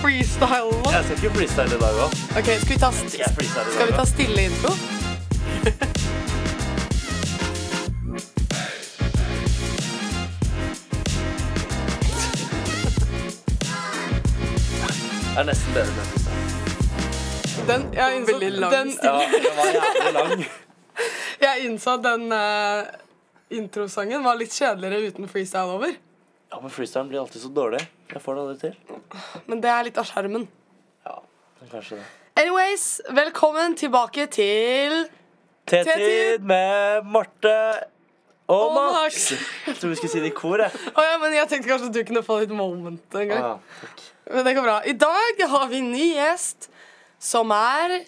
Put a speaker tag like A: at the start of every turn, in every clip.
A: freestyle nå?
B: Jeg skal ikke freestyle i dag òg.
A: Ok, skal vi ta, st
B: Jeg freestyler i
A: skal vi
B: dag
A: ta
B: også.
A: stille intro?
B: Det er nesten bedre enn freestyle.
A: Den, jeg innså,
C: Veldig lang
A: den,
B: Ja, den var jævlig lang.
A: jeg innså at den eh, introsangen var litt kjedeligere uten freestyle over.
B: Ja, men freestylen blir alltid så dårlig. Jeg får det aldri til.
A: Men det er litt av skjermen.
B: Ja, men kanskje det.
A: Anyways, velkommen tilbake til
B: Tetid med Marte og
A: Og
B: Max.
A: Max.
B: Jeg tror vi skulle si det i kor, jeg.
A: Å ja, men jeg tenkte kanskje du kunne få litt moment en gang.
B: Ah,
A: Men det går bra. I dag har vi en ny gjest, som er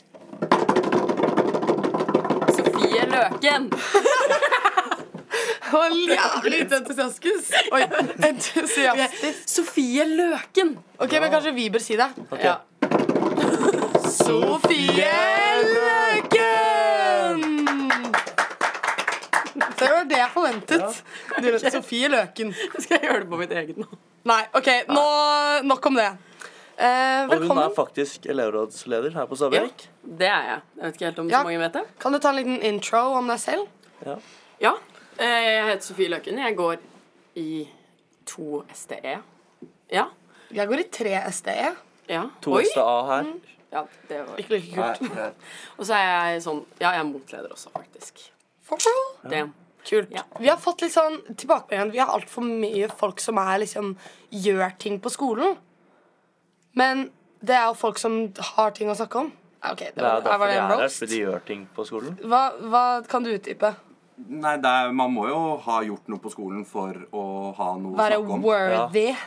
C: Sofie Løken.
A: Han var jævlig entusiastisk. Oi, entusiastisk.
C: Sofie Løken.
A: Ok, men kanskje vi bør si det.
B: ok.
C: Ja.
A: Sofie Løken! Så det var det jeg forventet. Du, Sofie Løken.
C: Skal jeg gjøre det på mitt eget nå?
A: Nei, ok, nå, nok om det. Eh,
B: Og hun er
A: velkommen.
B: faktisk elevrådsleder her på Stabekk.
C: Det er jeg. Jeg vet ikke helt om
A: Ja.
C: så mange vet det.
A: Kan du ta en liten intro om deg selv?
B: Ja.
C: Ja. eh, Jeg heter Sofie Løken. Jeg går i 2STE. E. Ja.
A: Jeg går i 3 SDE.
C: Ja.
B: To E. STA her.
C: Ja, det var
A: E. Ikke like kult.
B: Nei, nei.
C: Og så er jeg sånn Ja, jeg er motleder også, faktisk.
A: Forstå?
C: Det.
A: Kult.
C: Ja.
A: Vi har fått litt sånn tilbakemelding Vi har altfor mye folk som er liksom gjør ting på skolen. Men det er jo folk som har ting å snakke om. Ja, Ok, det
B: Det
A: var,
B: er derfor
A: var det
B: de
A: en
B: er her,
A: roast?
B: fordi de gjør ting på skolen.
A: Hva, hva kan du utdype?
D: Nei, det er, Man må jo ha gjort noe på skolen for å ha noe
A: Være
D: å snakke om.
A: worthy.
D: Eh,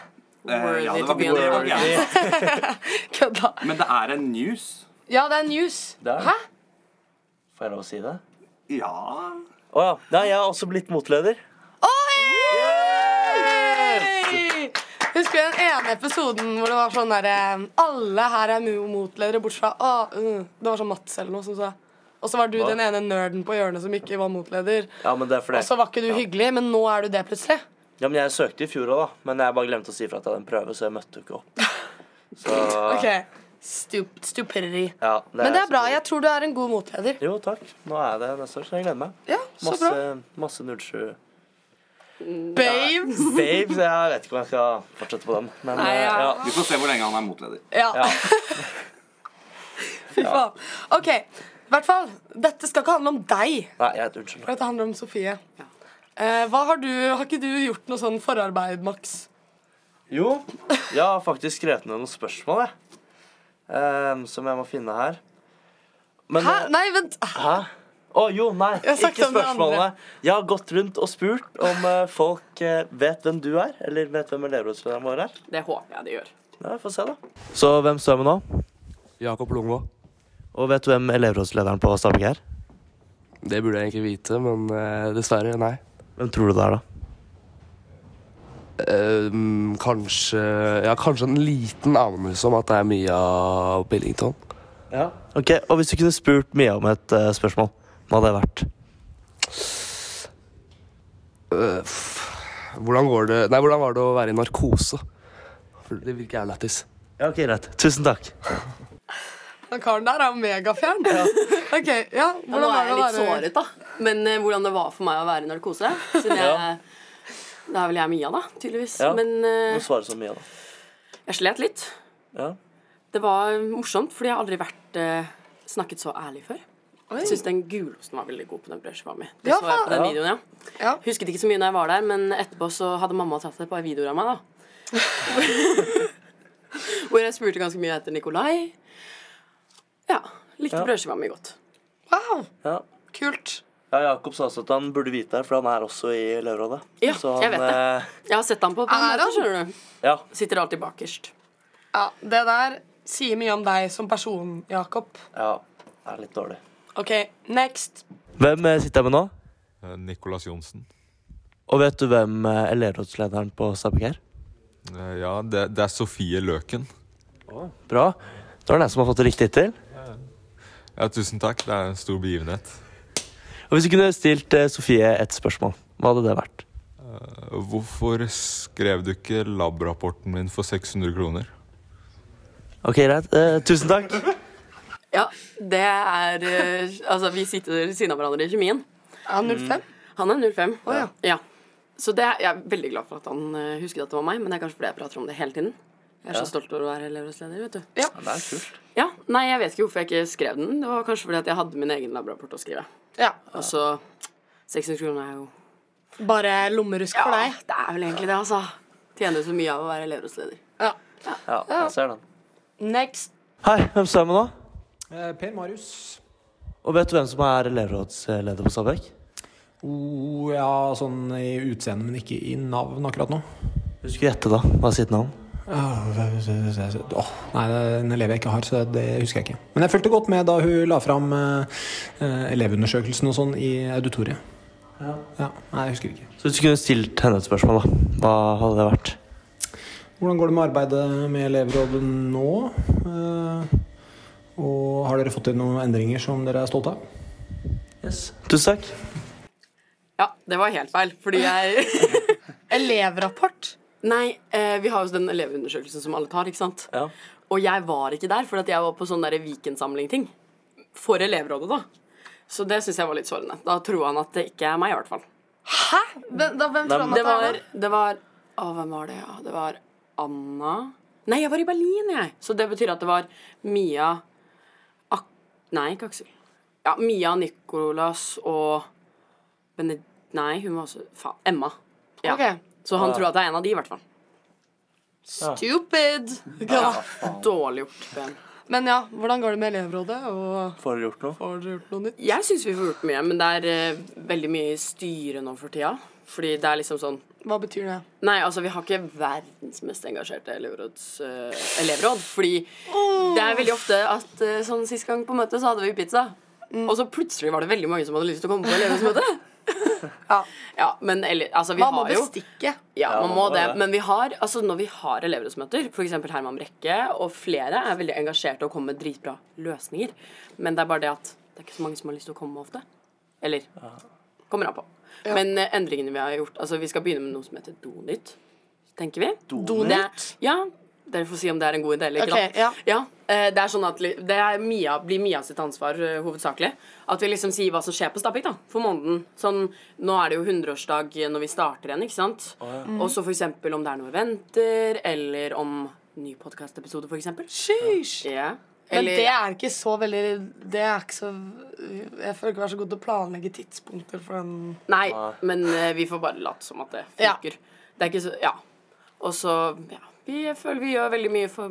D: ja,
C: Worthy
D: det
C: to
D: var
C: be
D: ikke det.
C: on
D: var
C: the
D: ikke det.
A: Kødda.
D: Men det er en news.
A: Ja, det er news.
B: Det er-
A: Hæ?
B: Får jeg lov å si det?
D: Ja
B: Å ja. Nei, jeg er også blitt motleder.
A: Hey! Husker du den ene episoden hvor det var sånn derre Alle her er mu- motledere, bortsett fra ah, uh. Det var sånn Mats eller noe som sa Og så var du
B: Hva?
A: den ene nerden på hjørnet som ikke var motleder.
B: Ja, men det er fordi
A: Og så var ikke du hyggelig, men nå er du det plutselig.
B: Ja, men Jeg søkte i fjor òg, da. Men jeg bare glemte å si fra at jeg hadde en prøve, så jeg møtte jo ikke opp. Så
A: Ok, Stup stupidity.
B: ja,
A: Men det er bra. Jeg tror du er en god motleder.
B: Jo, takk. Nå er jeg det neste år, så jeg gleder meg.
A: Ja, så
B: Masse,
A: bra.
B: masse 07
A: Babes.
B: Babes. Jeg vet ikke om jeg skal fortsette på den. Men
C: Nei,
B: eh, ja.
C: ja.
D: Vi får se hvor lenge han er motleder.
A: Ja.
B: Ja.
A: Fy faen. Ok, i hvert fall. Dette skal ikke handle om deg.
B: Nei, jeg heter unnskyld.
A: For dette handler om Sofie.
C: Ja.
A: Eh, hva har, du, har ikke du gjort noe sånn forarbeid, Max?
B: Jo, jeg har faktisk skrevet ned noen spørsmål, jeg. Ehm, som jeg må finne her. Men
A: Hæ?
B: eh,
A: Nei, vent.
B: Hæ? Å jo, nei.
A: Jeg har sagt
B: Ikke
A: om det andre.
B: spørsmålene. Jeg har gått rundt og spurt om eh, folk eh, vet hvem du er, eller vet hvem elevrådslederen vår er.
C: Det håper jeg det gjør.
B: Ja, vi får se, da. Så hvem står med nå?
E: Jakob Lungvå.
B: Og vet du hvem elevrådslederen på Stabekk er?
E: Det burde jeg egentlig vite, men eh, dessverre, nei.
B: Hvem tror du det er, da?
E: Eh, mm, kanskje Ja, kanskje en liten anelse om at det er Mia Billington.
B: Ja. Ok, Og hvis du kunne spurt Mia om et eh, spørsmål, hva hadde det vært?
E: Eh, f- hvordan går det Nei, hvordan var det å være i narkose? For det virker jævlig lættis.
B: Ja, ok, greit. Tusen takk.
A: Den karen der er jo megafjern. Ok, ja,
C: Ja, nå
A: hvordan
C: er jeg
A: var
C: litt
A: det å være
C: såret, da. Men eh, hvordan det var for meg å være i narkose siden jeg,
B: Ja.
C: Da er vel jeg Mia, da, tydeligvis.
B: Ja.
C: Men
B: Du
C: eh,
B: svarer som Mia, da.
C: jeg slet litt.
B: Ja.
C: Det var morsomt, fordi jeg har aldri vært eh, snakket så ærlig før. Jeg syns den gulosten var veldig god på den brødskiva var med. Det
A: Ja,
C: så jeg på den
B: faen.
C: videoen, ja.
A: Ja.
C: Husket ikke så mye da jeg var der, men etterpå så hadde mamma tatt et par videoer av meg, da. Hvor jeg spurte ganske mye etter Nikolai. Ja. Likte
B: Ja.
C: brødskiva mi godt.
A: Wow,
B: ja.
A: kult.
B: Ja, Jakob sa også at han burde vite det, for han er også i elevrådet.
C: Ja,
B: Så
C: jeg vet det.
B: eh,
C: Jeg har sett han på
A: Er
C: Bamble,
A: han?
C: skjønner du.
B: Ja,
C: Sitter alltid bakerst.
A: Ja, Det der sier mye om deg som person, Jakob.
B: ja. Det er litt dårlig.
A: Ok, next.
B: Hvem eh, sitter jeg med nå?
F: Eh, Nicolas Johnsen.
B: Og vet du hvem eh, elevrådslederen på Stabekk er?
F: Eh, Ja, det, det er Sofie Løken.
B: Bra. Da er det den som har fått det riktig til.
F: Ja, tusen takk. Det er en stor begivenhet.
B: Og hvis du kunne stilt eh, Sofie et spørsmål, hva hadde det vært?
F: Eh, Hvorfor skrev du ikke labrapporten min for 600 kroner?
B: Ok, greit. Eh, tusen takk.
C: Ja, det er eh, Altså, vi sitter ved siden av hverandre i kjemien.
A: Ja, 05?
C: Han er 05.
A: Å, ja.
C: Så det, jeg er veldig glad for at han eh, husket at det var meg, men det er kanskje fordi jeg prater om det hele tiden. Jeg er
B: Ja.
C: så stolt over å være elevrådsleder, vet du.
B: Ja, det er kult.
C: Ja, Nei, jeg vet ikke hvorfor jeg ikke skrev den. Det var kanskje fordi at jeg hadde min egen labrapport å skrive.
A: Ja.
C: Og så 600 kroner er jo
A: Bare lommerusk for deg.
C: det er vel egentlig det, altså. Tjener så mye av å være elevrådsleder.
A: Ja.
B: Ja, jeg ser den.
A: Next.
B: Hei, hvem står jeg med nå?
G: Eh, Per Marius.
B: Og vet du hvem som er elevrådsleder på Stabekk?
G: Oh, ja, sånn i utseende, men ikke i navn akkurat nå.
B: Du skulle gjette, da. Hva er sitt navn?
G: Åh, nei, det er en elev jeg ikke har, så det husker jeg ikke. Men jeg fulgte godt med da hun la fram eh, eh, elevundersøkelsen og sånn i auditoriet. Ja, Nei, jeg husker ikke.
B: Så hvis du kunne stilt henne et spørsmål, da. Hva hadde det vært?
G: Hvordan går det med arbeidet med elevrådet nå? Eh, og har dere fått til noen endringer som dere er stolte av?
B: Yes. Tusen takk.
C: Ja, det var helt feil, fordi jeg
A: Elevrapport.
C: Nei, eh, vi har jo den elevundersøkelsen som alle tar, ikke sant?
B: Ja.
C: Og jeg var ikke der, for at jeg var på sånn der Vikensamling-ting. For elevrådet, da. Så det syns jeg var litt sårende. Da tror han at det ikke er meg, i hvert fall.
A: Hæ? Hvem, da, hvem tror han at
C: Det
A: det er?
C: var,
A: da?
C: det var Å, hvem var det? Ja, det var Anna Nei, jeg var i Berlin, jeg. Så det betyr at det var Mia Ak Nei, ikke Aksel. Ja, Mia, Nicolas og Bened... Nei, hun var også Faen. Emma. Ja.
A: Ok.
C: Så han tror at det er en av de, i hvert fall.
A: Stupid.
C: Dårlig gjort, Ben.
A: Men ja, hvordan går det med elevrådet? Og
B: Får dere gjort noe?
A: har dere gjort noe nytt?
C: Jeg syns vi får gjort mye, men det er eh, veldig mye styre nå for tida. Fordi det er liksom sånn
A: Hva betyr det?
C: Nei, altså, vi har ikke verdens mest engasjerte elevråds, eh, elevråd. Fordi det er veldig ofte at eh, sånn sist gang på møtet, så hadde vi pizza.
A: Mm.
C: Og så plutselig var det veldig mange som hadde lyst til å komme på elevrådsmøte.
A: Ja.
C: ja, men eller, altså, vi
A: Man må
C: har jo
A: bestikke.
C: ja,
B: Ja,
C: man
B: man
C: må
B: må
C: det.
B: det.
C: Men vi har, altså, når vi har elevrådsmøter, f.eks. Herman Brekke og flere, er veldig engasjerte og kommer med dritbra løsninger. Men det er bare det at det er ikke så mange som har lyst til å komme ofte. Eller kommer an på. Men eh, endringene vi har gjort Altså, vi skal begynne med noe som heter Donytt, tenker vi.
B: Donut?
C: Det- Ja. Dere får si om det er en god idé eller ikke.
A: Ok,
C: da.
A: ja.
C: eh, Det er sånn at li- det er Mia, blir Mia sitt ansvar eh, hovedsakelig. At vi liksom sier hva som skjer på Stabekk da, for måneden. Sånn, Nå er det jo 100-årsdag når vi starter igjen, ikke sant? Og så for eksempel om det er noe eventer, eller om ny podkastepisode, for eksempel.
A: Sheesh.
C: Ja.
A: Men
C: Eller,
A: det er ikke så veldig Det er ikke så Jeg føler ikke jeg er så god til å planlegge tidspunkter for den
C: Nei, men eh, vi får bare late som at det
A: Ja.
C: funker. Det er ikke så Ja. Og så ja, Vi føler vi gjør veldig mye for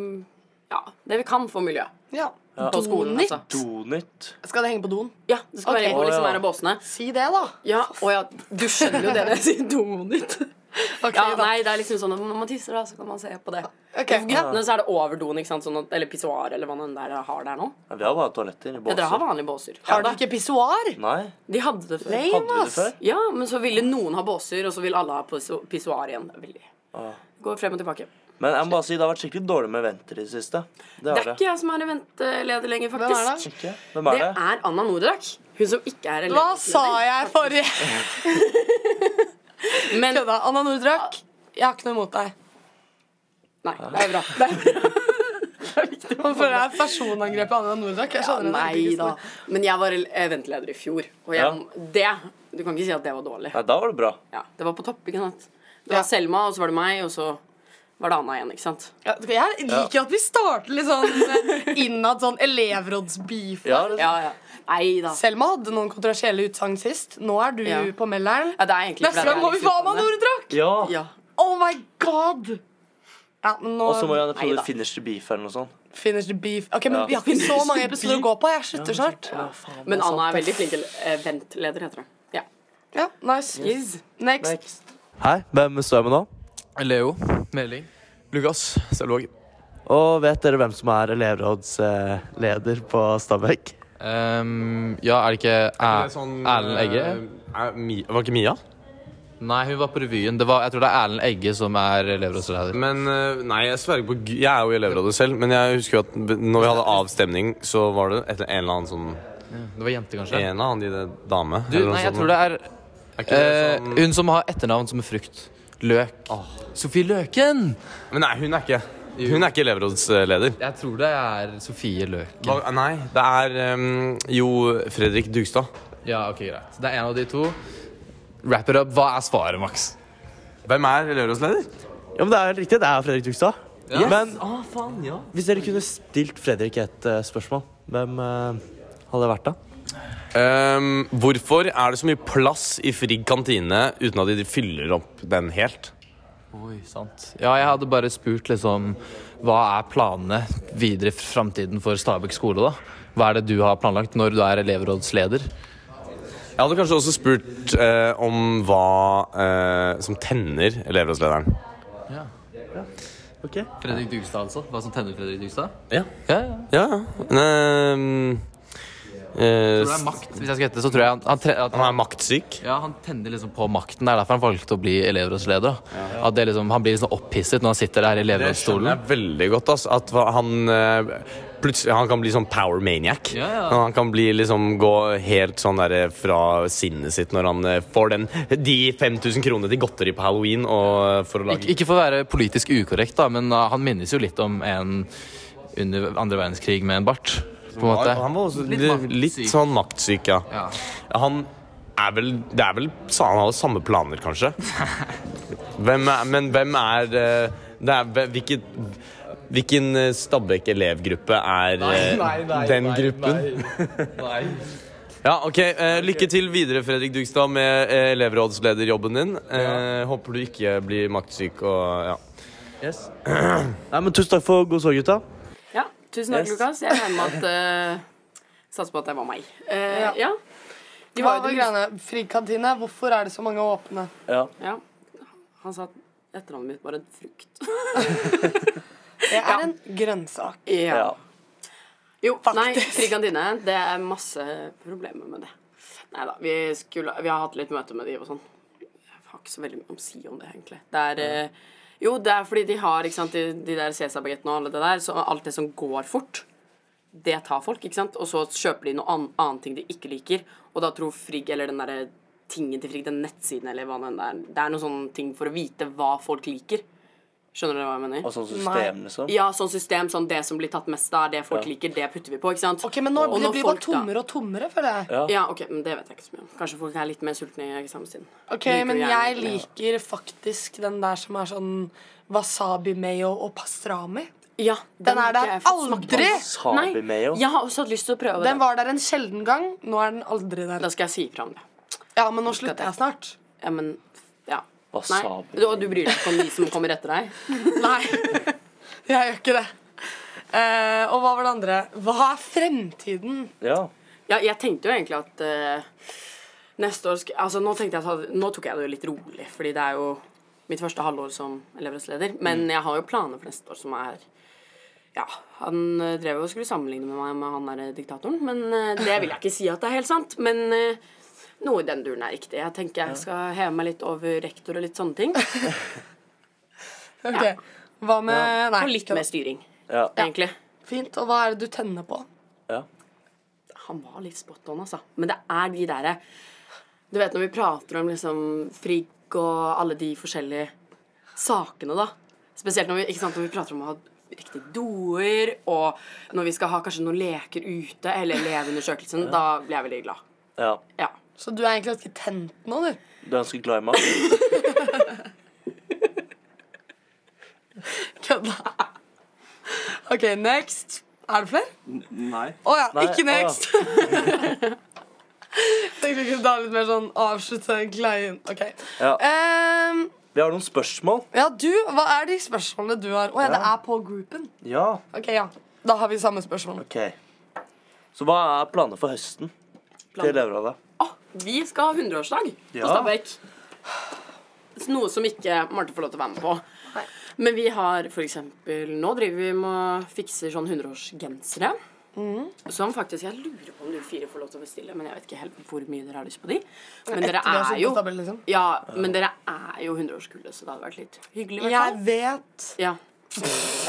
C: Ja, det vi kan for miljøet.
A: Ja.
C: På skolen,
A: Donut?
C: altså.
B: Donut.
A: Skal det henge på doen?
C: Ja, det skal
A: Ok.
C: være hvor
B: Å,
C: liksom
B: ja.
C: er av båsene.
A: Si det, da.
C: Ja, og ja, du skjønner jo det når jeg sier donut.
A: Ok,
C: Ja,
A: da.
C: nei, det er liksom sånn at når man tisser, da, så kan man se på det.
A: Ok,
C: For guttene så er det over doen, ikke sant? Sånn at, eller pissoar, eller hva nå enn det er dere har der nå.
B: Ja, vi har bare toaletter i
C: Ja,
B: båser.
C: dere har vanlige båser.
A: Har
C: Ja,
A: dere ikke pissoar?
B: Nei.
C: De hadde det før.
A: Lame,
B: Hadde vi det
A: ass.
B: før?
C: Ja, men så ville noen ha båser, og så vil alle ha pisso- pissoar igjen. Det er Veldig.
B: Ah.
C: Går frem og tilbake.
B: Men jeg må bare si, det har vært skikkelig dårlig med venter i det siste. Det
C: Det
B: har
C: er ikke jeg som er eventleder lenger,
A: Hvem er
C: faktisk.
A: det?
B: Ikke? Hvem er
C: Det
B: det?
C: er Anna Nordrak. Hun som ikke er
A: Hva sa
C: elevleder.
A: jeg forrige
C: Men
A: Kødda. Anna Nordrak, jeg har ikke noe imot deg.
C: Nei, det er bra. Det er bra. Det er viktig.
A: Nå føler jeg personangrep på Anna Nordrak. Jeg
C: Ja,
A: skjønner det
C: nei
A: ikke
C: da.
A: står.
C: Men jeg var eventleder i fjor, og jeg, det Du kan ikke si at det var dårlig.
B: Nei, da var det bra.
C: Ja, det var på topp, ikke sant? Det var Selma, og så var det meg, og så var det Anna igjen, ikke sant?
A: Ja, Jeg liker at vi starter litt sånn eh, innad sånn elevrådsbeef.
B: Ja, det,
C: Ja, ja. Nei da.
A: Selma hadde noen kontroversielle utsagn sist. Nå er du
C: Ja.
A: på melderen.
C: Ja, det er egentlig
A: Neste
C: fordi
A: gang
C: jeg
A: må
C: er
A: vi
C: litt
A: få Anna
C: utdannet.
A: Nordrak!
B: ja.
C: Ja.
A: Oh my god! Ja, men nå
B: Og så må vi ha en
C: Nei
B: episode
C: da.
B: finish the beef eller noe sånt.
A: finish the beef. Ok, men
B: Ja.
A: Vi har ikke så mange episoder å gå på. Jeg slutter snart.
C: Men Anna er veldig flink til eventleder, heter det. Ja.
A: Ja, nice.
C: Yes.
A: Next.
B: Hei, hvem står jeg med nå?
E: Leo. Meling. Lukas. Selvåg.
B: Og vet dere hvem som er elevrådsleder på Stabekk?
H: Ehm, ja, er det ikke
F: Er
H: Æ-
F: det sånn,
H: Erlend Egge?
F: eh, er Mi var ikke Mia?
H: Nei, hun var på revyen. Det var, jeg tror det er Erlend Egge som er elevrådsleder.
F: Men eh, nei, jeg sverger på Gud Jeg er jo i elevrådet selv, men jeg husker jo at b- når vi hadde avstemning, så var det et, en eller annen sånn
H: Det var jente,
F: En
H: kanskje?
F: eller annen de dame.
H: Du, nei, jeg tror det er eh, hun som har etternavn som en frukt. Løk. Sofie Løken!
F: Men nei, hun er ikke Hun er ikke elevrådsleder.
H: Jeg tror det er Sofie Løken.
F: Hva- Nei, det er ehm, jo Fredrik Dugstad.
H: Ja, ok, greit. Det er en av de to. Wrap it up. Hva er svaret, Max?
F: Hvem er elevrådsleder?
B: Ja, men Det er helt riktig. Det er Fredrik Dugstad.
H: Ja.
B: Men
F: Ah, faen, ja.
B: hvis dere kunne stilt Fredrik et eh, spørsmål, hvem eh, hadde det vært da?
F: Ehm, hvorfor er det så mye plass i Frigg kantine uten at de fyller opp den helt?
H: Oi, sant. Ja, jeg hadde bare spurt liksom Hva er planene videre i framtiden for Stabekk skole, da? Hva er det du har planlagt når du er elevrådsleder?
F: Jeg hadde kanskje også spurt eh, om hva eh, som tenner elevrådslederen.
B: Ok.
H: Fredrik Dugstad, altså? Hva som tenner Fredrik Dugstad?
F: Ja.
H: Ja, ja.
F: Ja, ja. Men, ehm, eh,
H: Tror det er makt. Hvis jeg skal gjette, så tror jeg han, han, tre, at
F: han er maktsyk.
H: Ja, han tenner liksom på makten. Det er derfor han valgte å bli elevrådsleder. da. At det liksom, han blir liksom opphisset når han sitter der i
F: Det skjønner
H: elevrådsstolen.
F: jeg veldig godt. ass, At hva- han eh, plutselig han kan bli sånn power maniac.
H: Ja, ja.
F: Og Han kan bli liksom gå helt sånn der fra sinnet sitt når han eh, får den, de 5000 kronene til godteri på halloween og eh, for å
H: Ik
F: lage
H: ikke for å være politisk ukorrekt, da, men ah, han minnes jo litt om en under andre verdenskrig med en bart. På en måte.
F: Han var også
H: Litt
F: litt,
H: maktsyk.
F: litt sånn maktsyk, ja.
H: Ja.
F: Han er vel Det er vel sa Han hadde samme planer, kanskje? Hvem er, men hvem er eh, Det er hve- hvilket Hvilken eh, Stabæk-elevgruppe er eh, den gruppen?
H: Nei.
F: Ja, ok. eh, lykke til videre, Fredrik Dugstad, med eh, elevrådslederjobben din. Eh, Håper du ikke blir eh, maktsyk og ja.
B: Yes. Nei, men Tusen takk for god sår, gutta.
C: Ja, tusen takk,
B: Yes.
C: Lukas. Jeg regner med at uh, Satser på at det var meg. Eh,
A: Ja.
C: ja. De
A: Hva
C: var jo
A: var
C: det-
A: greiene? Frikantine, hvorfor er det så mange åpne?
C: Ja. Han sa at etternavnet mitt var en frukt.
A: Jeg er en grønnsak.
B: Ja.
C: Jo, nei, fri kantine. Det er masse problemer med det. Nei da, vi, skulle- vi har hatt litt møte med de og sånn. Jeg har ikke så veldig mye å si om det, egentlig. Det er eh, Jo, det er fordi de har ikke sant, de, de der Cæsarbagettene og alle det der, så alt det som går fort. det tar folk, ikke sant? Og så kjøper de noe ann annen ting de ikke liker, og da tror Frigg, eller den der tingen til Frigg, den nettsiden, eller hva den der, det er noen sånne ting for å vite hva folk liker. Skjønner dere hva jeg mener?
B: Og sånn system, liksom.
C: Ja, sånn system, sånn det som blir tatt mest av, det folk liker, det putter vi på, ikke sant?
A: Ok, men nå
C: Og
A: blir det blir bare
C: folk da-
A: tommere og tommere, føler jeg.
C: Ja, ok, men det vet jeg ikke så mye om. Kanskje folk er litt mer sultne i eksamenstiden.
A: Ok,
C: Liker
A: Men
C: gjerne
A: jeg
C: det.
A: liker faktisk den der som er sånn wasabi mayo og pastrami.
C: Ja,
A: Den er
C: har ikke
A: der
C: jeg fått smakt på.
A: aldri!
C: Nei,
B: Sabi Mayo.
C: jeg har også hatt lyst til å prøve
A: Den
C: den.
A: var der en sjelden gang. Nå er den aldri der.
C: Da skal jeg si fra om det.
A: Ja, men nå slutter jeg snart.
C: Ja, men, ja. Nei,
B: Wasabi.
C: du, og du bryr deg ikke om de som kommer etter deg?
A: Nei, jeg gjør ikke det. Eh, og hva var det andre? Hva er fremtiden?
B: Ja.
C: Ja, jeg tenkte jo egentlig at eh, neste år sk Altså, nå tenkte jeg at hadde- Nå tok jeg det jo litt rolig, fordi det er jo mitt første halvår som elevrådsleder. Men
B: Mm.
C: jeg har jo planer for neste år som er Ja, han eh, drev jo og skulle sammenligne med meg med han der eh, diktatoren, men eh, det vil jeg ikke si at det er helt sant. Men eh, noe i den duren er riktig. Jeg tenker jeg skal heve meg litt over rektor og litt sånne ting.
A: Ok, Hva med Nei.
C: Og litt
A: ikke
C: mer
A: det.
C: styring,
B: Ja.
C: egentlig.
A: Fint. Og hva er det du tenner på?
B: ja.
C: Han var litt spot on, altså. Men det er de derre Du vet når vi prater om liksom Frigg og alle de forskjellige sakene, da. Spesielt når vi, ikke sant, når vi prater om å ha riktige doer, og når vi skal ha kanskje noen leker ute, eller elevundersøkelsen. Da blir jeg veldig glad.
B: ja.
C: Ja.
A: Så du er egentlig ganske tent nå, du.
B: Du er ganske glad i mat?
A: Kødda. OK, next. Er det flere?
D: Nei.
A: Å ja,
B: Nei,
A: ikke
B: å ja.
A: next. Tenkte vi kunne ta litt mer sånn avslutte den kleien. OK.
B: Ja.
A: Ehm,
B: Vi har noen spørsmål.
A: ja, du, hva er de spørsmålene du har? Å ja, det er på groupen.
B: Ja.
A: OK, ja. Da har vi samme spørsmål.
B: Ok. Så hva er planene for høsten til
C: Planer.
B: elevrådet?
C: Å, Ah, vi skal ha 100-årslag på
B: Ja.
C: Stabekk. Noe som ikke Marte får lov til å være med på. Men vi har for eksempel Nå driver vi med å fikse sånn 100-årsgensere.
A: Mhm.
C: Som faktisk Jeg lurer på om dere fire får lov til å bestille, men jeg vet ikke helt hvor mye dere har lyst på de. Men dere
A: Etter vi har
C: er
A: sittet
C: jo
A: på tabellen, liksom.
C: Ja, men dere er jo 100-årskullet, så det hadde vært litt hyggelig. i hvert fall.
A: Jeg vet
C: Ja.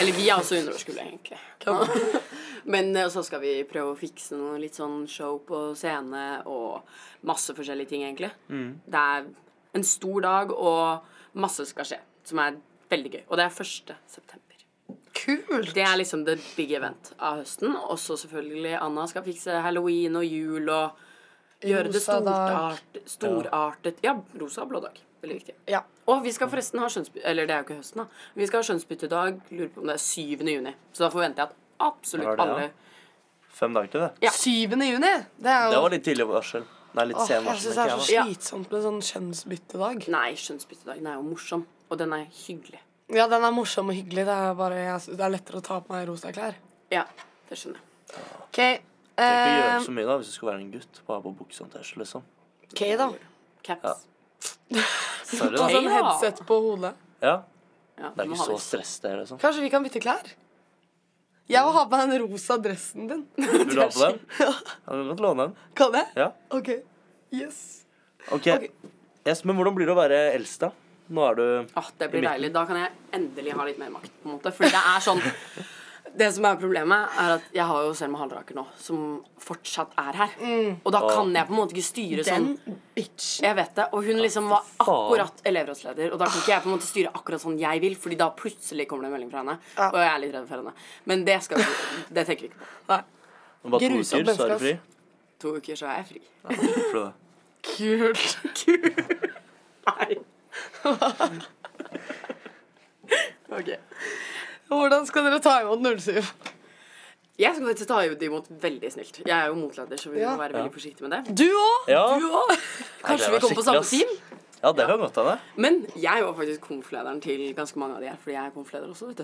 C: Eller vi er også 100-årskullet, egentlig. Men eh, så skal vi prøve å fikse noe litt sånn show på scene og masse forskjellige ting, egentlig. Det er en stor dag, og masse skal skje, som er veldig gøy. Og det er 1. september.
A: Kult!
C: Det er liksom the big event av høsten. Og så selvfølgelig Anna skal fikse halloween og jul og gjøre det
A: Rosa dag.
C: stortart, storartet. Ja, rosa og blå dag. Veldig viktig.
A: Ja.
C: Og vi skal forresten ha skjønnsby... Eller det er jo ikke høsten, da. Vi skal ha skjønnsbyttedag, lurer på om det er 7. juni. Så da forventer jeg at absolutt
B: Når er det,
C: alle
B: Fem dager til det.
C: Ja.
A: 7. juni! Det er
B: Det
A: jo
B: var litt tidlig varsel. Nei, litt
A: Åh,
B: sen
A: Jeg
B: varsel.
A: syns det er så
B: Ikke jeg,
C: jeg, da.
A: slitsomt med sånn kjønnsbyttedag.
C: Nei, skjønnsbyttedagen er jo morsom. Og den er hyggelig.
A: Ja, den er morsom og hyggelig. Det er, bare, jeg, synes- det er lettere å ta på meg rosa klær.
C: Ja, det skjønner jeg.
A: OK.
B: da. Tenk å gjøre
A: Eh,
B: så mye da, hvis du skal være en gutt. Bare på buksehåndtasje, liksom.
A: OK, da.
C: Caps.
B: Sorry,
A: Og
B: da.
A: sånn headset på hodet.
B: Ja.
C: Ja,
B: Det er
C: må
B: ikke
C: ha
B: så
C: litt-
B: stress, det, liksom.
A: Kanskje vi kan bytte klær? Jeg vil ha på meg den rosa dressen din.
B: Vil du ha på den? Jeg kan godt låne den.
A: Kan jeg?
B: Ja.
A: OK. Yes.
B: Ok. Yes, men hvordan blir det å være eldst, da? Nå er
A: Ah,
B: du
C: Åh, det blir
B: midten.
C: deilig. Da kan jeg endelig ha litt mer makt, på en måte. For det er sånn Det som er problemet, er at jeg har jo Selma Halleraker nå, som fortsatt er her.
B: Mm.
C: Og da kan jeg på en måte ikke styre sånn.
A: Den bitchen.
C: Jeg vet det, Og hun liksom var akkurat elevrådsleder, og da kan ikke jeg på en måte styre akkurat sånn jeg vil, Fordi da plutselig kommer det en melding fra henne,
A: Ja.
C: og jeg er litt redd for henne. Men det skal vi, det tenker vi ikke på.
A: Nei.
B: om bare to
A: Grusomt
B: uker, så er du fri.
A: menneske,
C: To uker, så er jeg fri.
B: For det.
A: Kult.
C: Nei. ok.
A: Hvordan skal dere ta imot 07?
C: Jeg skal faktisk ta det imot veldig snilt. Jeg er jo motleder, så vi
A: Ja.
C: må være veldig forsiktige med det.
A: Du òg?
B: Ja.
C: Du òg! Kanskje
B: Nei, det
C: vi kommer
B: var
C: på
B: skikkelig,
C: samme
B: ass.
C: team?
B: ja, det kan godt hende.
C: Men jeg var faktisk konflederen til ganske mange av de her, fordi jeg er konfleder også, vet du.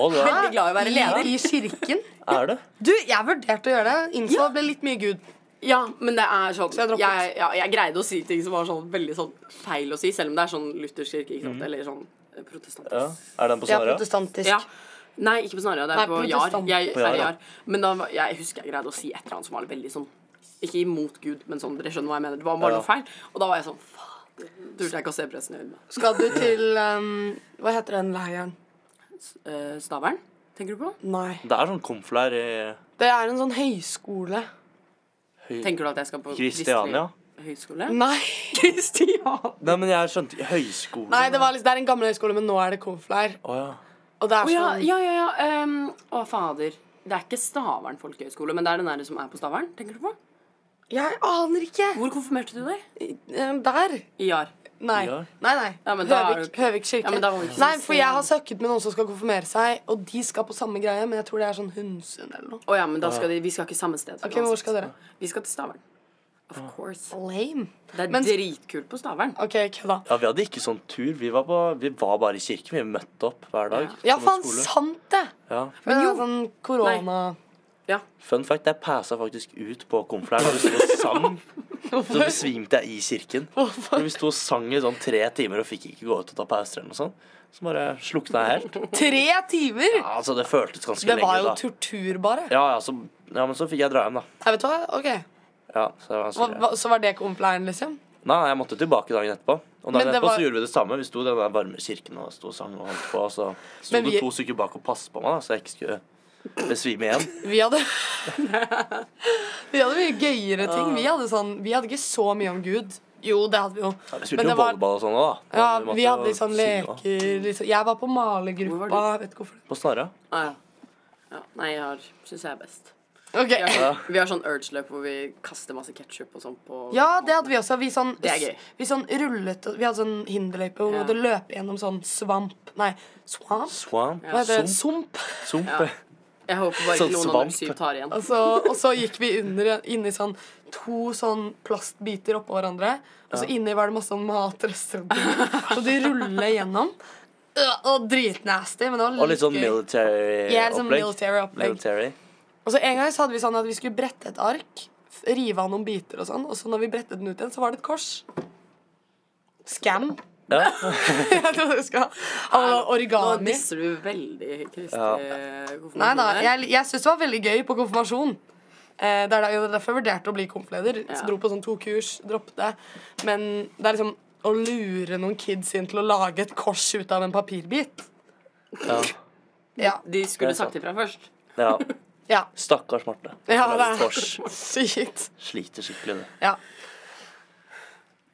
B: Å, du er,
C: Veldig glad i å være leder.
A: I kirken?
B: er det?
A: Du, jeg vurderte å gjøre det. Innså det ble litt mye Gud.
C: Ja, men det er sånn
A: jeg
C: jeg,
A: droppet.
C: ja, jeg greide å si ting som var sånn veldig sånn feil å si, selv om det er sånn luthersk kirke, ikke sant, eller sånn eh, protestantisk.
B: Mm. Ja. Er den på
A: Jeg er
B: Sara?
A: protestantisk.
C: Ja. Nei, ikke på Snarøya. Det er
A: Nei,
C: på Jar.
A: protestant.
C: Jeg,
B: På Jar,
C: er
B: ja.
C: Jar. Men da, var- jeg husker jeg greide å si et eller annet som var veldig sånn Ikke imot Gud, men sånn, dere skjønner hva jeg mener. Det var bare
B: Ja.
C: noe feil. Og da var jeg sånn Fader. Turte jeg ikke å se presten i øynene.
A: Skal du til um, Hva heter den leiren?
C: Eh, Stavern, tenker du på?
A: Nei.
B: Det er sånn konflær i
A: Det er en sånn høyskole.
C: Tenker du at jeg skal på
B: Mm. Kristiania.
C: kristelig høyskole?
A: Nei.
C: Kristian!
B: Nei, men jeg skjønte Høyskole?
A: Nei, det, var, liksom- det er en gammel høyskole, men nå er det konfleir.
B: Å ja.
A: Og det er
C: Å
A: sånn
C: ja, ja, ja. ja. ehm, å, fader. Det er ikke Stavern folkehøgskole, men det er den der som er på Stavern. tenker du på?
A: Jeg aner ikke.
C: Hvor konfirmerte du deg?
A: Eh, Der?
C: I Jar.
A: Nei.
B: Ja.
A: Nei, nei.
C: Ja, men da er
A: Høvik,
C: du-
A: Høvik kirke.
C: Ja, men da var det ikke
A: nei,
C: så-
A: for jeg har søket med noen som skal konfirmere seg, og de skal på samme greie, men jeg tror det er sånn Hundsund eller noe.
C: Å ja, men da skal de, vi skal ikke samme sted.
A: Ok, men Hvor skal dere?
C: Vi skal til Stavern. Of course.
A: Lame.
C: Det er
A: Men-
C: dritkult på Stavern.
A: OK, kødda.
B: ja, vi hadde ikke sånn tur. Vi var, på, vi var bare i kirken. Vi møtte opp hver dag.
A: Ja,
B: som en
A: faen,
B: skole.
A: sant det!
B: Ja.
A: Men jo. Sånn korona
B: Fun fact, jeg passa faktisk ut på konflær da vi sto og sang. Så besvimte jeg i kirken. Så vi sto og sang i sånn tre timer og fikk ikke gå ut og ta pauser eller noe sånt. Så bare slukna jeg helt.
A: Tre timer!
B: Ja, altså, det føltes ganske
A: Det var
B: lenge
A: jo
B: ut, da.
A: tortur, bare.
B: Ja, ja, så, ja, men så fikk jeg dra hjem, da.
A: Jeg vet hva, ok
B: Ja, så, det var ganske
A: hva,
B: greit.
A: hva, Så var det konfleiren, liksom?
B: Nei, nei, jeg måtte tilbake dagen etterpå. Og dagen
A: Men det
B: etterpå
A: var-
B: så gjorde vi det samme. Vi sto i den der varme kirken og sto og sang og holdt på. Og så sto
A: Men vi-
B: det to stykker bak og passet på meg, da, så jeg ikke skulle besvime igjen.
A: Vi hadde Vi hadde mye gøyere ting. Vi hadde, sånn, vi hadde ikke så mye om Gud. Jo, det hadde vi jo.
B: Vi
A: Men
B: spilte
A: det
B: jo
A: var-
B: volleyball og sånn òg, da.
A: Ja,
B: Men måtte
A: vi hadde
B: jo
A: liksom
B: synge også.
A: leker liksom. Jeg var på
C: Hvor
A: malergruppa.
C: var
A: Vet ikke hvorfor.
B: På Snarøya.
C: Ah, ja. ja. Nei, jeg har syns jeg er best.
A: Ok.
C: Vi har, sånn, vi har sånn urge løp hvor vi kaster masse ketsjup og sånn på
A: Ja, det hadde vi også. Vi sånn,
C: Det er gøy.
A: Vi sånn rullet og- Vi hadde sånn hinderløype hvor vi
C: Ja.
A: måtte løpe gjennom sånn svamp Nei, swamp?
B: Swamp.
A: Hva heter det?
B: Sump.
A: Sump.
B: Sump.
C: Ja. Jeg håper bare
B: Sånn
C: ikke noen av
B: svamp.
C: 07 tar igjen.
A: Og så, og så gikk vi under inni sånn to sånn plastbiter oppå hverandre. Og så inni var det masse sånn matrester. Så de ruller gjennom. Øh, Og dritnasty, men det var
B: Og litt sånn
A: gøy.
B: military
A: Ja, litt sånn
B: opplegg.
A: military opplegg.
B: Military.
A: Og så en gang så hadde vi sånn at vi skulle brette et ark, f- rive av noen biter og sånn, og så når vi brettet den ut igjen, så var det et kors. Scam.
B: Ja.
A: Jeg trodde du skulle ha alle
C: Nå
A: origami.
C: disser du veldig Eh, kristelig
B: Ja.
C: konfirmasjon
A: Nei da,
C: her.
A: jeg, jeg syns det var veldig gøy på konfirmasjon. Eh, det er da- det er derfor jeg vurderte å bli konfleder.
C: Ja.
A: Så dro på sånn to kurs, droppet det. Men det er liksom å lure noen kids inn til å lage et kors ut av en papirbit.
B: Ja.
A: Ja,
C: De skulle
B: Det er sant.
C: sagt ifra først.
B: ja.
A: ja.
B: Stakkars Marte.
A: ja
B: Hun
A: det
B: er et
A: er
B: tors.
A: sykt.
B: Sliter skikkelig, det.
A: Ja.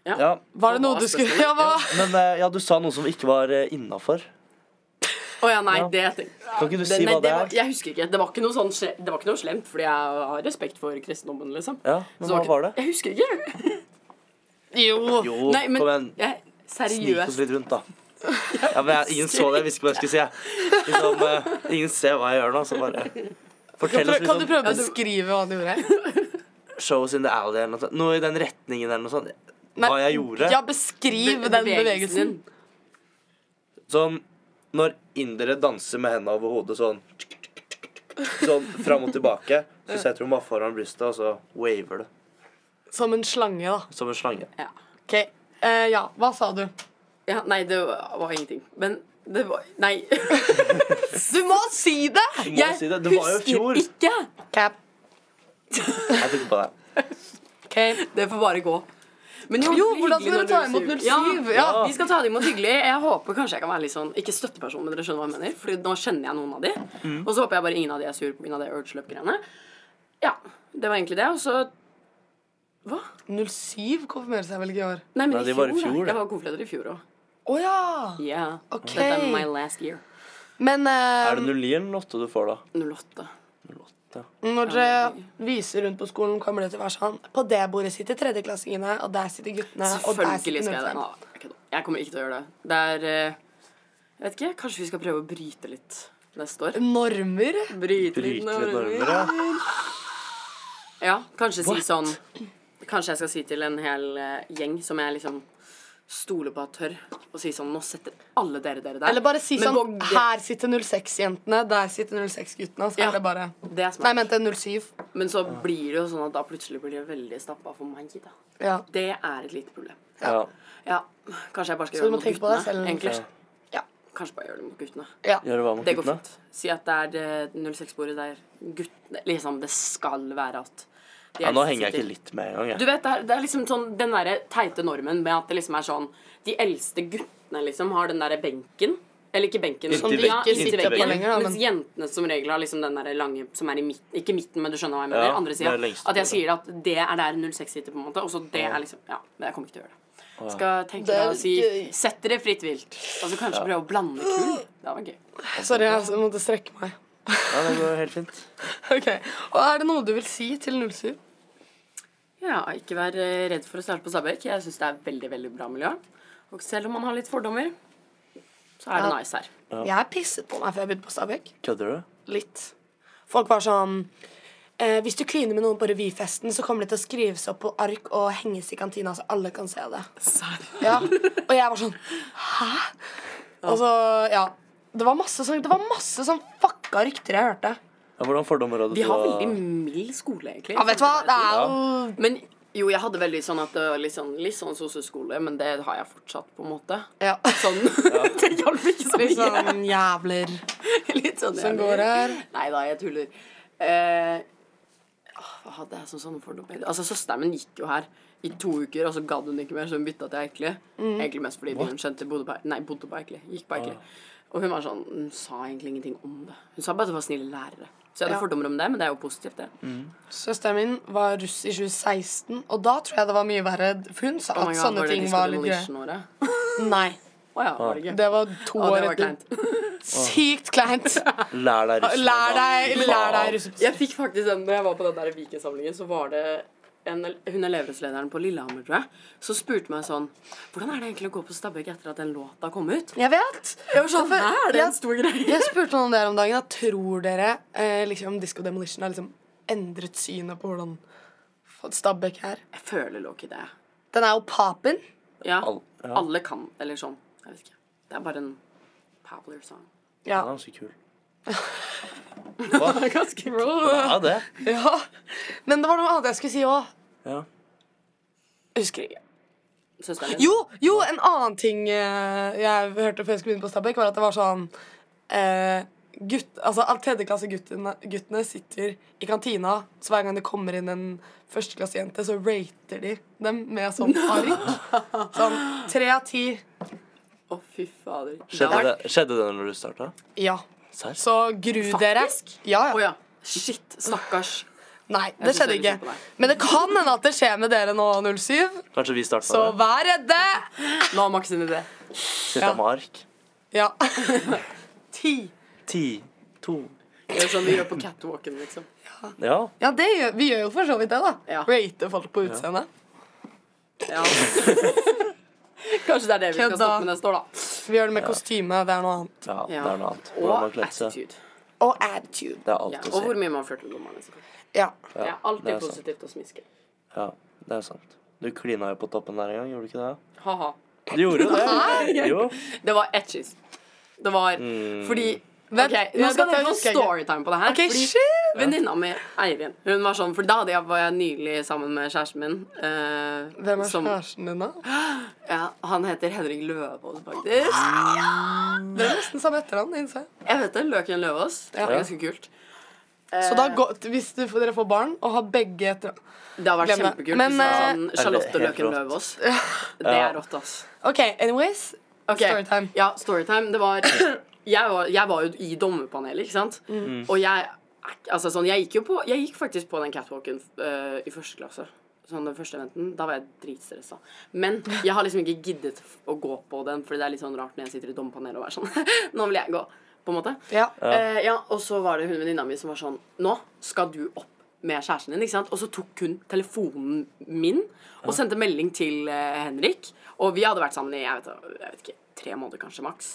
B: Ja.
A: Var det noe du skulle Ja, hva?
B: eh, Men eh, ja, du sa noe som ikke var innafor.
C: Å ja, nei, det Kan
B: ikke du si hva det er?
C: Jeg husker ikke. Det var ikke noe, sånn, sle- det var ikke noe slemt, fordi jeg har respekt for kristendommen, liksom.
B: Ja, men hva var det?
C: Jeg husker ikke. jo.
B: Jo, liksom.
C: Nei, men
B: kom igjen.
C: jeg,
B: Snik oss
C: seriøst.
B: litt rundt, da. Ja, men jeg, ingen så det. Jeg visste ikke hva jeg skulle si. jeg. Liksom, eh, ingen ser hva jeg gjør nå, så bare Fortell oss
A: Kan du
B: liksom
A: prøve å beskrive hva du gjorde?
B: Show us in the alley eller noe sånt. Noe i den retningen eller noe sånt.
A: Nei,
B: Hva jeg gjorde.
A: Ja, beskriv den bevegelsen.
C: din.
B: Sånn når indere danser med hendene over hodet sånn Sånn fram og tilbake. Så setter du meg foran brystet, og så waver du.
A: Som en slange, da.
B: Som en slange.
C: Ja.
A: Ok, eh, ja, hva sa du?
C: ja. Nei, det var var ingenting. Men det var Nei.
A: Du må si det!
B: Du må
C: Jeg
B: si det. Det var jo i fjor.
C: husker ikke.
A: Cap.
B: Jeg tok på deg.
A: Ok.
C: Det får bare gå. Men
A: Jo,
C: hyggelig
A: hvordan skal
C: når
A: dere ta
C: du
A: imot
C: sier-
A: 07?
C: Ja,
A: Ja.
C: Vi skal ta det imot hyggelig. Jeg håper kanskje jeg kan være litt sånn Ikke støtteperson, men dere skjønner hva jeg mener. Fordi nå kjenner jeg noen av de.
A: Mm.
C: Og så håper jeg bare ingen av de er sur pga. det Urge Løp-greiene. Ja, det var egentlig det. Og så Hva?
A: 07 konfirmerer seg vel ikke i år?
C: Nei, men
B: Nei,
C: i
B: det
C: fjor.
B: var i
C: da.
B: fjor, det.
C: Jeg var konfleder i fjor òg.
A: Å ja!
C: Yeah.
A: Ok.
C: Dette er my last year.
A: Men
C: Um,
A: eh,
B: Er det 09 eller 08 du får, da?
C: 08.
A: når dere viser rundt på skolen, kommer det til å være sånn På det bordet sitter tredjeklassingene, og der sitter guttene, og der
C: Selvfølgelig
A: sitter
C: skal jeg det.
A: 05.
C: Nå, jeg kødder. Jeg kommer ikke til å gjøre det. Det er eh, Jeg vet ikke. Kanskje vi skal prøve å bryte litt neste år?
A: Normer?
C: Bryte litt
B: Bryter litt
C: normer.
B: normer, ja.
C: Ja, kanskje si sånn Kanskje jeg skal si til en hel eh, gjeng som jeg liksom stoler på at tør, og si sånn Nå setter alle dere dere der.
A: Eller bare si
C: Men
A: sånn
C: våg-
A: Her sitter 06-jentene, der sitter 06-guttene. Så
C: Ja.
A: er det bare
C: Det er
A: Nei, jeg
C: smart.
A: mente 07.
C: Men så blir det jo sånn at da plutselig blir det veldig stappa for meg, da.
A: Ja.
C: Det er et lite problem.
B: Ja.
C: Ja, kanskje jeg bare skal gjøre
A: Så du må
C: det mot
A: tenke på deg
C: guttene.
A: selv,
C: egentlig.
B: liksom.
A: Ja.
C: Kanskje bare gjøre det mot guttene.
A: ja.
B: Gjør det hva med
C: Det går
B: guttene?
C: fint. Si at det er eh, 06-bordet der guttene Liksom, det skal være at de
B: Ja, nå
C: eldste
B: henger jeg
C: sitter-
B: ikke litt med engang.
C: Du vet, det er, det er liksom sånn den derre teite normen med at det liksom er sånn De eldste guttene liksom har den derre benken. Eller ikke benken,
B: Inntil
C: men- ja,
B: veggen.
C: inntil
B: Inntil
C: veggen.
B: veggen.
A: lenger, da,
C: mens jentene som regel har liksom den derre lange som er i midten Ikke midten, men du skjønner hva jeg mener.
B: Ja,
C: andre
B: det
C: sida.
B: er lengst
C: At jeg
B: bordet.
C: sier at det er der 06 sitter, på en måte. Og så det er liksom Ja, men jeg kommer ikke til å gjøre det. Skal tenke
A: Det er
C: deg å si
A: gøy.
C: Sett dere fritt vilt. Altså kanskje prøve å blande kull. Det var gøy.
A: Sorry, jeg altså, måtte strekke meg.
B: Ja, det går helt fint.
A: Ok, Og er det noe du vil si til 07?
C: Ja, ikke vær eh, redd for å starte på Stabekk. Jeg syns det er veldig, veldig bra miljø. Og selv om man har litt fordommer, så er det
A: Ja.
C: nice her.
A: Jeg pisset på meg før jeg begynte på Stabekk.
B: Kødder du?
A: Litt. Folk var sånn eh, Hvis du kliner med noen på revyfesten, så kommer det til å skrives opp på ark og henges i kantina, så alle kan se det. Ja. Og jeg var sånn Hæ? Og så, ja. Det var masse sånn, det var masse sånn fucka rykter jeg hørte.
B: Ja, hvordan fordommer hadde
C: Vi har
B: du? da?
C: veldig mild skole, egentlig.
A: Ja, vet du hva? Det er jo
C: Men jo, jeg hadde veldig sånn at det var litt sånn, litt sånn sosseskole, men det har jeg fortsatt, på en måte.
A: ja.
C: Sånn. det hjalp ikke så
A: Litt
C: mye.
A: sånn jævler
C: Litt sånn
A: som går her.
C: Nei da, jeg tuller. Eh, åh, hva hadde jeg som sånne fordommer? Altså, Søsteren min gikk jo her i to uker, og så gadd hun ikke mer, så hun bytta til Eikli. Egentlig mest fordi hun skjønte bodde på Nei, bodde på Eikli. Gikk på Eikli. Og hun var sånn, hun sa egentlig ingenting om det. Hun sa bare at det var snille lærere. Så jeg hadde
A: Ja.
C: fordommer om det, men det er jo positivt, det.
A: Søsteren min var russ i 2016, og da tror jeg det var mye verre. For hun sa
C: Oh my
A: at
C: God,
A: sånne
C: var det
A: ting var litt greie.
C: Disco-demolition-året?
A: Nei.
C: Å ja, var det gøy?
A: Det var
C: Å,
A: to
C: det
A: år
C: var
A: etter.
C: kleint.
A: Sykt kleint.
B: Lær deg russisk.
A: Lær deg, lær deg russebussen.
C: Jeg fikk faktisk den Når jeg var på den der Viken-samlingen, så var det en, hun elevrådslederen på Lillehammer, tror jeg, så spurte meg sånn Hvordan er det egentlig å gå på Stabæk etter at den låta kom ut?
A: Jeg vet.
C: Jeg var sånn,
A: Hvorfor-
C: Hæ, er det en
A: jeg,
C: stor greie?
A: jeg spurte noen om det her om dagen. Da. Tror dere eh, liksom Disco Demolition har liksom endret synet på hvordan Stabæk er?
C: Jeg føler lå ikke det.
A: Den er jo papen.
C: Ja,
B: Al- ja.
C: Alle kan, eller sånn. Jeg vet ikke. Det er bare en popular song.
A: Ja.
B: Ja, det er ganske kul. Hva?
A: Ganske bro.
B: Ja, det.
A: Ja. Men det var noe annet jeg skulle si òg.
B: Ja.
A: Husker ikke.
C: Søsteren min.
A: Jo, jo, en annen ting eh, jeg hørte før jeg skulle begynne på Stabæk, var at det var sånn eh, gutt, altså, at Tredjeklasseguttene guttene sitter i kantina, så hver gang det kommer inn en førsteklassejente, så rater de dem med sånn ark. Sånn tre av ti.
C: Å, fy fader. Det
B: Skjedde,
C: var-
B: det. Skjedde det når du starta?
A: Ja.
B: Serr?
A: Så gru dere.
C: Faktisk?
A: Ja,
C: Å
A: ja.
C: ja. Shit, stakkars.
A: Nei, det
C: synes
A: skjedde
C: det er litt synd på
A: ikke.
C: deg.
A: Men det kan hende at det skjer med dere nå, 07.
B: Kanskje vi starta
A: Så
B: med det?
A: vær redde.
C: Nå har Max en idé.
B: Sitte med ark?
A: Ja. Ti.
B: Ti, to
C: Det er sånn vi gjør på catwalken, liksom.
B: Ja.
A: Ja, det gjør, vi gjør jo for så vidt det, da.
C: Ja.
A: Rate folk på utseendet.
C: Ja. Kanskje det er det vi skal
A: Kødda.
C: stoppe med neste år, da.
A: Vi gjør det med kostyme, det er noe annet.
B: ja, det
C: Ja.
B: er noe annet. Hvordan man
C: Og
B: kledde seg.
C: attitude.
A: Og attitude.
B: Det er
C: Ja,
B: alt å
C: og hvor
B: si.
C: mye man flørter med dommerne. selvfølgelig.
A: Ja.
C: Det er alltid
B: det er sant.
C: positivt å smiske.
B: Ja, det er sant. Du klina jo på toppen der en gang, gjorde du ikke det?
C: Ha-ha.
B: Du gjorde jo det. Jo.
C: Det var etches. Det var
B: Mm.
C: fordi
A: Vent,
C: Ok, nå
A: ja,
C: skal
A: dette
C: dere få
A: husker jeg ikke.
C: storytime på det her.
A: Ok,
C: fordi
A: shit!
C: Venninna mi, Eirin, hun var sånn For da hadde jeg, var jeg nylig sammen med kjæresten min. eh,
A: Hvem er
C: som-
A: kjæresten din, da?
C: Ja, han heter Henrik Løvaas, faktisk.
A: Dere er nesten samme etternavn. innser jeg.
C: Jeg vet det. Løken Løvaas. Det er ganske kult.
A: Så da går, hvis du, dere får barn og har begge etternavn
C: Det har vært
A: Glem det.
C: kjempekult.
A: Men, eh,
C: hvis det var sånn Charlotte
B: Eller helt
C: Løken
B: rått.
C: Løvaas. Det er rått, ass.
A: OK, anyways.
C: Ok,
A: Storytime.
C: Ja, storytime. Det var Jeg var, jeg var jo i dommerpanelet, ikke sant?
A: Mm.
C: Og jeg Altså sånn, jeg gikk jo på Jeg gikk faktisk på den catwalken øh, i første klasse. Sånn den første eventen. Da var jeg dritstressa. Men jeg har liksom ikke giddet å gå på den, Fordi det er litt sånn rart når jeg sitter i dommerpanelet og er sånn Nå vil jeg gå, på en måte.
A: Ja.
C: Eh, ja og så var det hun venninna mi som var sånn Nå skal du opp med kjæresten din, ikke sant? Og så tok hun telefonen min og sendte melding til eh, Henrik. Og vi hadde vært sammen i jeg vet, jeg vet ikke, tre måneder kanskje, maks.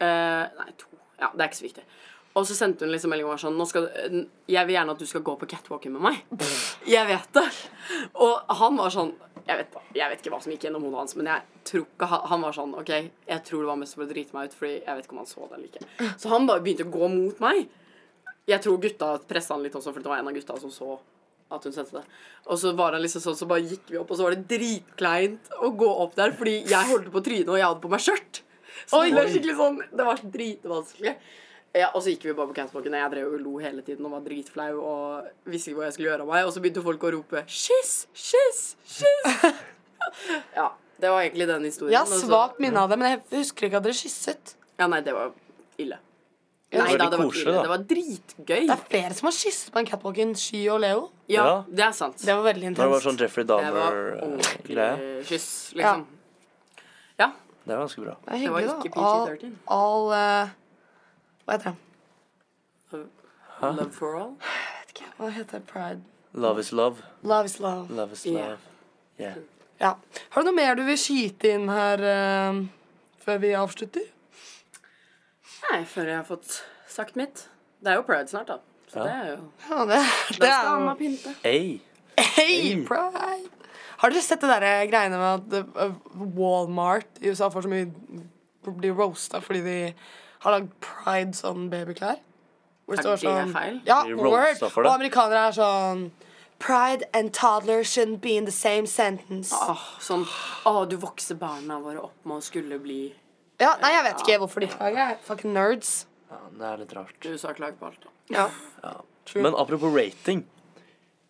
C: Eh, nei, to. Ja, det er ikke så viktig. Og så sendte hun liksom melding og var sånn nå skal, du- Jeg vil gjerne at du skal gå på catwalken med meg. Jeg vet det. Og han var sånn jeg vet, jeg vet ikke hva som gikk gjennom hodet hans, men jeg tror ikke han, han var sånn OK, jeg tror det var mest for å drite meg ut, fordi jeg vet ikke om han så det eller ikke. Så han bare begynte å gå mot meg. Jeg tror gutta pressa han litt også, for det var en av gutta som så at hun sendte det. Og så var han liksom sånn, så bare gikk vi opp, og så var det dritkleint å gå opp der, fordi jeg holdt på trynet, og jeg hadde på meg skjørt. Så det var skikkelig sånn Det var dritvanskelig. Ja, og så gikk vi bare på catwalken, og jeg drev og lo hele tiden og var dritflau og visste ikke hva jeg skulle gjøre av meg, og så begynte folk å rope 'Kyss! Kyss! Kyss!' ja. Det var egentlig den historien.
A: Jeg
C: og
A: har
C: så-
A: svakt minne av det, men jeg husker ikke at dere kysset.
C: Ja, nei, det var ille.
B: var
C: Nei da,
B: litt
C: det var ikke
B: koselig,
C: ille.
B: da.
C: Det var dritgøy.
A: Det er flere som har kysset på en catwalk enn Sky og Leo.
C: Ja,
B: Ja.
C: det er sant.
A: Det var veldig
B: Når det var
A: intenst.
B: sånn Jeffrey eh,
C: Det var
B: Dahmer-greie.
C: ordentlig kyss, liksom. Ja.
B: Det er ganske bra.
A: Det er
C: Det var
A: hyggelig,
C: ikke
A: da. All,
C: PG-13.
A: all eh, Hva heter det?
C: Love for all.
A: Hva heter pride?
B: Love is love.
A: Love is love.
B: Love is
C: Ja.
B: love. Yeah.
A: Ja. Har du noe mer du vil skyte inn her eh, før vi avslutter?
C: Nei, før jeg har fått sagt mitt. Det er jo pride snart, da. Så det er jo
A: Ja, det, det
C: Da skal
A: er
C: Anna
A: jo
C: pynte.
B: Hey.
A: Hey, pride! Har dere sett det der greiene med at eh, Walmart i USA får så mye blir roasta fordi de har lagd pride sånn babyklær? Hvor sånn-
C: Er det feil?
A: Ja,
B: Blir
A: word.
B: roasta for
A: Og
B: det?
A: amerikanere er sånn Pride and toddler shouldn't be in the same sentence.
C: Åh, sånn Å, du vokser barna våre opp med å skulle bli
A: Ja, nei, jeg vet ikke hvorfor de klager. Fucking nerds.
B: Ja, det er litt rart.
C: USA klager på alt.
A: Ja.
B: Men apropos rating.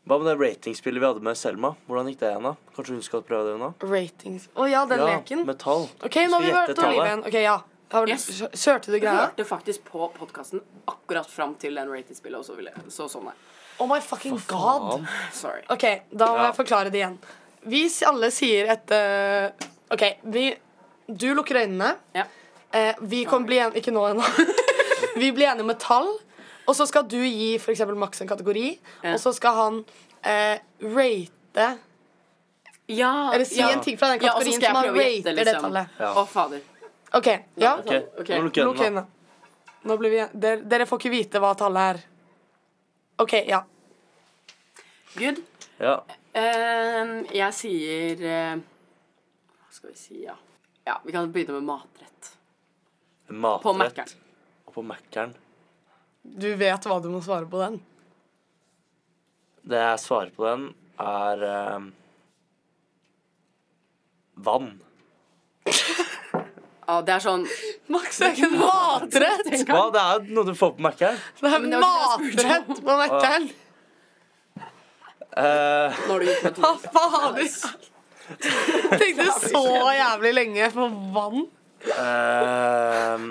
B: Hva med det ratingspillet vi hadde med Selma? Hvordan gikk det igjen? da? Kanskje hun skal prøve det hun da?
A: Ratings. Å ja, den leken.
B: med tall.
A: Ok, nå har
B: Skal
A: vi
B: gjette
A: vært på liv
B: tallet.
A: igjen. Ok, ja. Har du,
C: Yes.
A: Kjørte du
C: Jeg
A: greia?
C: hørte faktisk på podkasten akkurat fram til den ratingspillet, og så ville jeg så sånn her.
A: Oh my fucking god.
C: Sorry.
A: Ok, da må
B: Ja.
A: jeg forklare det igjen. Vi s- alle sier et eh, Ok, vi Du lukker øynene.
C: Ja.
A: Eh, vi kan bli en, Ikke nå ennå. vi blir enige med tall, og så skal du gi for eksempel Max en kategori, og så skal han eh, rate
C: ja
A: Eller si en ting fra den
C: Ja, og så
A: kategorien
C: skal jeg
A: som han
C: prøve å
A: rater
C: gjette,
A: det
C: liksom.
A: tallet.
C: Å, fader.
A: Ok, ja?
C: Ok.
B: Ok, Nå lukker jeg
A: Lukk øynene.
B: øynene.
A: Nå blir vi dere, dere får ikke vite hva tallet er. OK, ja.
C: Good.
B: Ja.
C: Ehm, jeg sier eh, Hva skal vi si, ja? Ja, Vi kan begynne med matrett.
B: Matrett.
C: På Mac-en.
B: Og på Mac-eren.
A: Du vet hva du må svare på den.
B: Det jeg svarer på den, er ehm, vann.
C: Ja, det er sånn
A: Max er ikke en matrett!
B: Hva? Det er noe du får på Mac-eren.
A: Det er
C: det var ikke det
A: matrett på Mac-en!
B: Eh,
C: Nå har du gjort meg
A: Hva
C: to.
A: fader? Tenkte så jævlig lenge på vann.
B: ehm,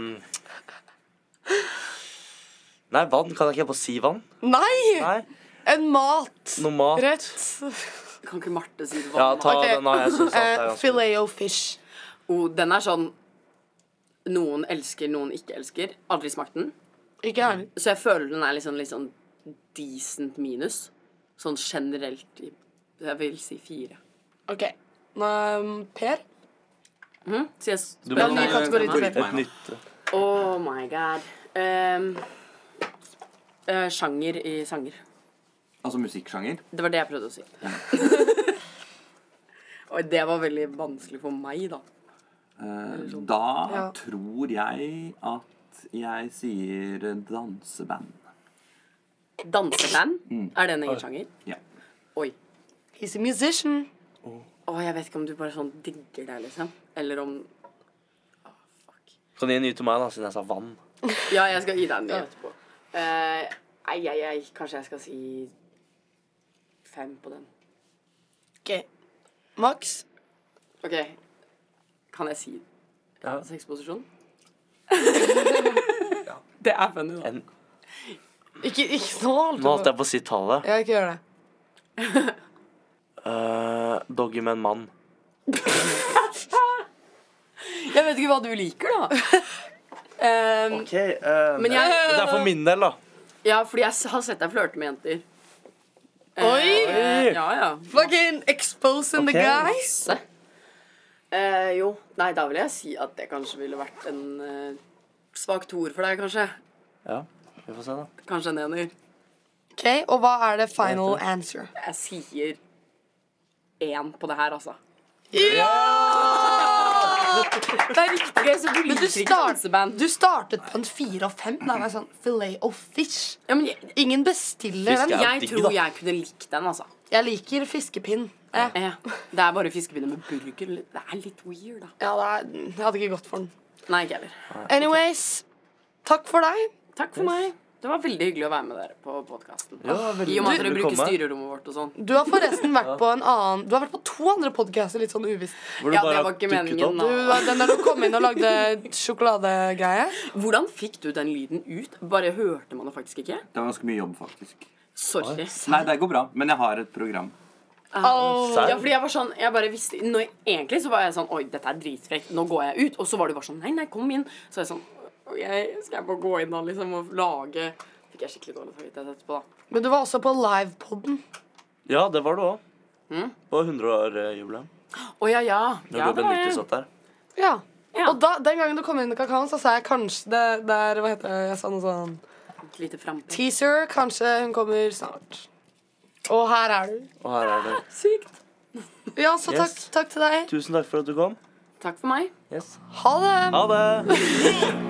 B: Nei, vann. Kan jeg ikke bare si vann?
A: Nei!
B: Nei.
A: En mat.
B: Noe mat.
A: Rett.
C: Kan ikke Marte si det?
B: Ja,
C: vanlig?
B: ta
A: Ok.
B: den. Nei, jeg synes alt er
A: Eh,
B: ganske
A: filet o fish.
C: Oh, den er sånn noen elsker, noen ikke elsker. Aldri smakt den.
A: Ikke jeg heller.
C: Så jeg føler den er litt sånn, litt sånn decent minus. Sånn generelt i Jeg vil si fire.
A: OK. Nei, um, Per?
C: Mhm. Så jeg
B: Du
C: spør-
B: må-
A: ny kategori til
B: Et
A: Per.
B: nytt
C: Oh my god. Ehm, eh, sjanger i sanger.
D: Altså musikksjanger.
C: Det var det jeg prøvde å si. Og det var veldig vanskelig for meg, da.
D: Eh, da
A: Ja.
D: tror jeg at jeg sier danseband.
C: Danseband?
B: Mm.
C: Er det en egen sjanger?
D: Ja.
C: Oi.
A: He's a musician.
C: Å, jeg vet ikke om du bare sånn digger det, liksom. Eller om
B: Kan du gi en ny til meg, da, siden jeg sa vann?
C: Ja, jeg skal gi deg en ny etterpå. Eh, Ei, ei, ei. Kanskje jeg skal si fem på den.
A: OK. Max?
C: OK. Kan jeg si
B: Ja.
C: sexposisjon? Det er funny, da.
B: En,
A: Ikke, ikke nå, holdt
B: nå holdt
A: jeg på.
B: jeg på å si tallet.
A: Ja, ikke gjør det.
B: Eh, doggy med en mann.
C: Jeg vet ikke hva du liker, da. Ehm,
B: Ok, eh,
C: Men jeg,
B: Det er for min del, da.
C: ja, fordi jeg s- har sett deg flørte med jenter.
A: Oi!
C: Eh, ja, ja.
A: Fucking exposing the
B: Ok.
A: guys.
C: Se. Eh, jo, nei, da vil jeg si at det kanskje ville vært en eh, svak toer for deg, kanskje.
B: Ja, vi får se, da.
C: Kanskje en ener.
A: OK, og hva er det final answer?
C: Jeg sier én på det her, altså.
A: Det er riktig.
C: Ok, så du
A: Men
C: liker
A: du,
C: ikke
A: start,
C: danseband?
A: du startet på en fire og fem. Da var jeg sånn Filet of fish.
C: Ja, men jeg,
A: Ingen bestiller
B: Fisk,
A: den.
B: ja.
C: jeg
B: digg,
C: tror
B: da.
C: jeg kunne likt den, altså.
A: Jeg liker fiskepinn. Eh,
C: Eh, det er bare fiskepinner med burger. Det er litt weird, da.
A: Ja, det er, jeg hadde ikke gått for den.
C: Nei, ikke heller.
A: Anyways, takk for deg.
C: Takk for meg. Det var veldig hyggelig å være med dere på podkasten.
B: Ja, veldig
C: I og med at
B: hyggelig
C: dere
B: å
C: bruker
B: komme.
C: styrerommet vårt og sånn.
A: Du har forresten vært på en annen Du har vært på to andre podcaster, litt sånn uvisst.
B: Hvor du
C: Ja, det
B: bare
C: var
B: har
C: ikke
B: dukket
C: meningen,
B: opp.
A: Du,
C: da.
A: den der du kom inn og lagde sjokoladegreie.
C: Hvordan fikk du den lyden ut? Bare hørte man det faktisk ikke?
D: Det var ganske mye jobb, faktisk.
C: Sorry.
D: Nei, det går bra, men jeg har et program.
A: Au.
C: Ja, fordi jeg var sånn, jeg bare visste når jeg, Egentlig så var jeg sånn Oi, dette er dritfrekt, nå går jeg ut. Og så var du bare sånn Nei, nei, kom inn. Så jeg sånn «Oi, jeg, Skal jeg bare gå inn da, liksom, og lage Fikk jeg skikkelig dårlig samvittighet etterpå, da.
A: Men du var også på livepoden.
B: Ja, det var du òg. På 100-årsjubileum.
C: Å ja, ja.
B: Når
C: ja
B: du og Benedicte satt der.
A: Ja.
C: Ja.
A: Og da, den gangen du kom inn i kakaoen, så sa jeg kanskje det der Hva heter det? Jeg sa noe sånn
C: Et lite frampå.
A: Teaser. Kanskje hun kommer snart. Og her er du.
B: Og her er du.
C: Sykt.
A: Ja, så takk,
B: Yes.
A: takk til deg.
B: Tusen takk for at du kom.
C: Takk for meg.
B: Yes.
A: Ha det.
B: Ha det.